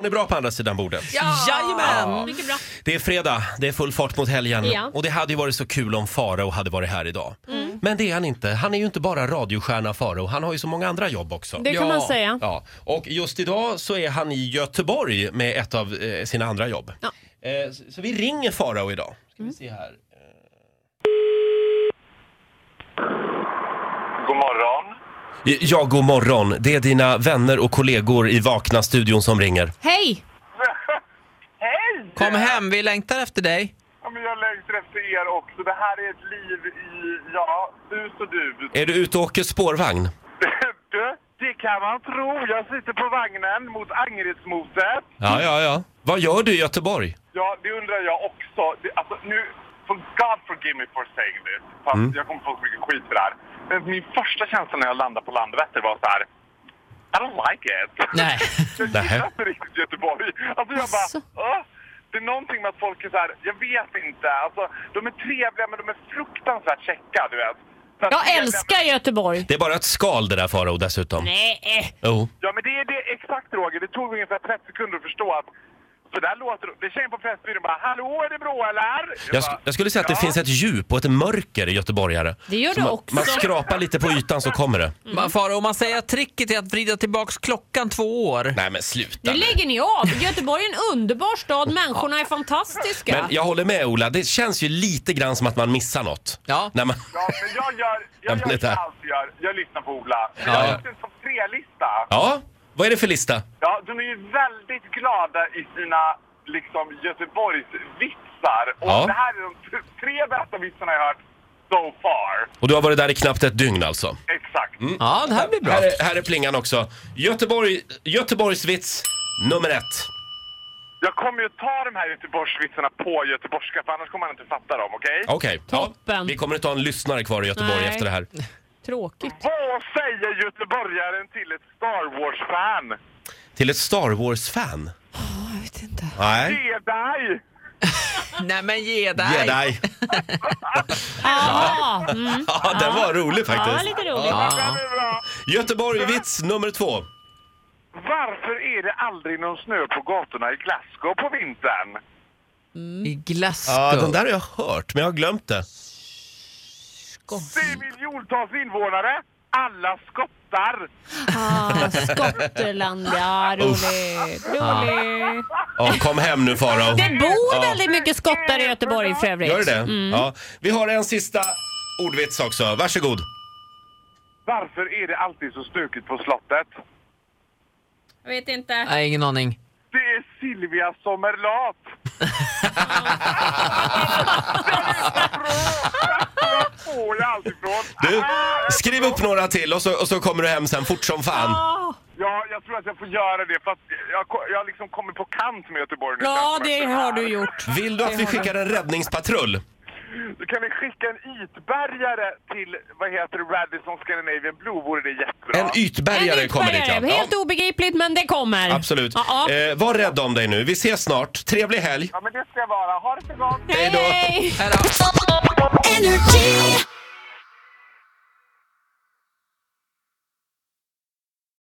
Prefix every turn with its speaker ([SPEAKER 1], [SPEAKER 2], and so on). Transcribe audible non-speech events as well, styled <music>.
[SPEAKER 1] Hon är bra på andra sidan bordet.
[SPEAKER 2] Jajamän!
[SPEAKER 3] Mycket bra.
[SPEAKER 1] Det är fredag, det är full fart mot helgen.
[SPEAKER 3] Ja. Mm.
[SPEAKER 1] Och det hade ju varit så kul om Farao hade varit här idag. Men det är han inte. Han är ju inte bara radiostjärna Farao, han har ju så många andra jobb också.
[SPEAKER 3] Det kan
[SPEAKER 2] Ja.
[SPEAKER 3] man säga.
[SPEAKER 1] Ja, och just idag så är han i Göteborg med ett av eh, sina andra jobb.
[SPEAKER 3] Ja. Mm.
[SPEAKER 1] Eh, så, så vi ringer Farao idag. Ska vi se här.
[SPEAKER 4] God morgon.
[SPEAKER 1] Ja, god morgon. Det är dina vänner och kollegor i Vakna-studion som ringer.
[SPEAKER 3] Hej!
[SPEAKER 4] Hej!
[SPEAKER 2] Kom hem, vi längtar efter dig.
[SPEAKER 4] Ja, men jag längtar efter er också. Det här är ett liv i, ja, sus och dus.
[SPEAKER 1] Är du ute och åker spårvagn?
[SPEAKER 2] Eh.
[SPEAKER 4] <laughs> Du, det kan man tro. Jag sitter på vagnen mot Angeredsmoset.
[SPEAKER 1] Ja, ja, ja. Vad gör du i Göteborg?
[SPEAKER 4] Ja, det undrar jag också. Det, alltså, nu, for God forgive me for saying this. Fast
[SPEAKER 1] Mm.
[SPEAKER 4] jag kommer få så mycket skit för det här. Men min första känsla när jag landade på Landvetter var så här. I don't like it.
[SPEAKER 2] Nej.
[SPEAKER 4] <laughs> Jag
[SPEAKER 1] Nähä.
[SPEAKER 4] gillar inte riktigt Göteborg. Alltså jag bara...
[SPEAKER 3] Asså.
[SPEAKER 4] "Åh." Det är någonting med att folk är så här, jag vet inte. Alltså, de är trevliga men de är fruktansvärt käcka, du vet. Så här
[SPEAKER 3] Jag
[SPEAKER 4] trevliga,
[SPEAKER 3] älskar
[SPEAKER 4] men-
[SPEAKER 3] Göteborg.
[SPEAKER 1] Det är bara ett skal det där Farao dessutom.
[SPEAKER 3] Nej,
[SPEAKER 1] Jo.
[SPEAKER 4] Ja men det är det, exakt Roger, det tog ungefär 30 sekunder att förstå att så där låter det. Det känns på Pressbyrån bara, hallå är det bra eller?
[SPEAKER 1] Jag, sk-
[SPEAKER 4] bara,
[SPEAKER 1] jag skulle säga att det
[SPEAKER 4] "Ja."
[SPEAKER 1] finns ett djup och ett mörker i göteborgare.
[SPEAKER 3] det gör
[SPEAKER 1] Så
[SPEAKER 3] du
[SPEAKER 1] man,
[SPEAKER 3] också.
[SPEAKER 1] man skrapar lite på ytan så kommer det.
[SPEAKER 2] Mm. Faro, om man säger att tricket är att vrida tillbaks klockan två år.
[SPEAKER 1] Nej men sluta
[SPEAKER 3] Nu
[SPEAKER 1] nu.
[SPEAKER 3] lägger ni av. Göteborg är en underbar stad. Människorna är fantastiska.
[SPEAKER 1] Men jag håller med Ola, det känns ju lite grann som att man missar något.
[SPEAKER 2] Ja.
[SPEAKER 1] När man...
[SPEAKER 4] Ja men jag gör,
[SPEAKER 1] Ja,
[SPEAKER 4] jag
[SPEAKER 1] men
[SPEAKER 4] gör
[SPEAKER 1] det
[SPEAKER 4] som
[SPEAKER 1] där.
[SPEAKER 4] jag alltid gör. Jag lyssnar på Ola.
[SPEAKER 1] Ja,
[SPEAKER 4] Jag
[SPEAKER 1] ja.
[SPEAKER 4] har gjort en topp tre-lista.
[SPEAKER 1] ja, vad är det för lista?
[SPEAKER 4] Ja, de är ju väldigt glada i sina liksom Göteborgsvitsar. Och
[SPEAKER 1] Ja.
[SPEAKER 4] det här är de t- tre bästa vitsarna jag har hört so far.
[SPEAKER 1] Och du har varit där i knappt ett dygn alltså.
[SPEAKER 4] Exakt.
[SPEAKER 2] Ja, det här blir bra.
[SPEAKER 1] Här är, här är plingan också. Göteborg, Göteborgsvits nummer ett.
[SPEAKER 4] Jag kommer ju ta de här Göteborgsvitsarna på göteborgska för annars kommer man inte fatta dem, okej?
[SPEAKER 1] Okej, ja.
[SPEAKER 3] Toppen.
[SPEAKER 1] vi kommer inte ha en lyssnare kvar i Göteborg
[SPEAKER 3] Nej.
[SPEAKER 1] efter det här.
[SPEAKER 3] Tråkigt.
[SPEAKER 4] Vad säger göteborgaren till ett Star Wars-fan?
[SPEAKER 1] Till ett Star Wars-fan?
[SPEAKER 2] Jag vet inte.
[SPEAKER 1] Nej.
[SPEAKER 4] Ge dig!
[SPEAKER 2] Nej men ge dig.
[SPEAKER 1] Ge dig.
[SPEAKER 3] Aha. Mm.
[SPEAKER 1] Ja, den var rolig
[SPEAKER 3] Ja,
[SPEAKER 1] <laughs> faktiskt.
[SPEAKER 3] lite roligt.
[SPEAKER 4] Den är bra.
[SPEAKER 1] Göteborg, vits nummer två.
[SPEAKER 4] Varför är det aldrig någon snö på gatorna i Glasgow på vintern?
[SPEAKER 2] I Glasgow.
[SPEAKER 1] Ja, den där har jag hört, men jag har glömt det.
[SPEAKER 4] Det är miljontals invånare. Alla skottar.
[SPEAKER 3] Ah, Skottland, ja roligt. roligt.
[SPEAKER 1] Ja, kom hem nu
[SPEAKER 3] <laughs>
[SPEAKER 1] Farao.
[SPEAKER 3] Det bor
[SPEAKER 1] Ja.
[SPEAKER 3] väldigt mycket skottar i Göteborg för övrigt.
[SPEAKER 1] Gör det det? Ja. Vi har en sista ordvits också. Varsågod.
[SPEAKER 4] Varför är det alltid så stökigt på slottet?
[SPEAKER 3] Jag vet inte.
[SPEAKER 2] Nej, ingen aning.
[SPEAKER 4] Det är Silvia som är lat. Den får jag allt ifrån.
[SPEAKER 1] Du,
[SPEAKER 4] Ah, jag
[SPEAKER 1] skriv
[SPEAKER 4] tror-
[SPEAKER 1] upp några till och så, och så kommer du hem sen fort som fan.
[SPEAKER 4] Ja, jag tror att jag får göra det för att jag, ko- jag har liksom kommer på kant med Göteborg nu.
[SPEAKER 3] Ja,
[SPEAKER 4] känns som
[SPEAKER 3] det
[SPEAKER 4] efter
[SPEAKER 3] har
[SPEAKER 4] här.
[SPEAKER 3] du gjort.
[SPEAKER 1] Vill du att vi skickar en räddningspatrull?
[SPEAKER 4] Du kan väl skicka en ytbergare till, vad heter det, Radisson Scandinavian Blue? Vore det jättebra?
[SPEAKER 1] En ytbergare
[SPEAKER 3] En
[SPEAKER 1] kommer dit
[SPEAKER 3] utbärgare.
[SPEAKER 1] ja.
[SPEAKER 3] Helt
[SPEAKER 1] ja.
[SPEAKER 3] obegripligt, men det kommer.
[SPEAKER 1] Absolut.
[SPEAKER 3] Ja, ja.
[SPEAKER 1] Eh, var rädd om dig nu. Vi ses snart. Trevlig helg.
[SPEAKER 4] Ja, men det ska jag vara. Ha det så gott!
[SPEAKER 1] Hej då.
[SPEAKER 3] Hej!
[SPEAKER 2] Här då.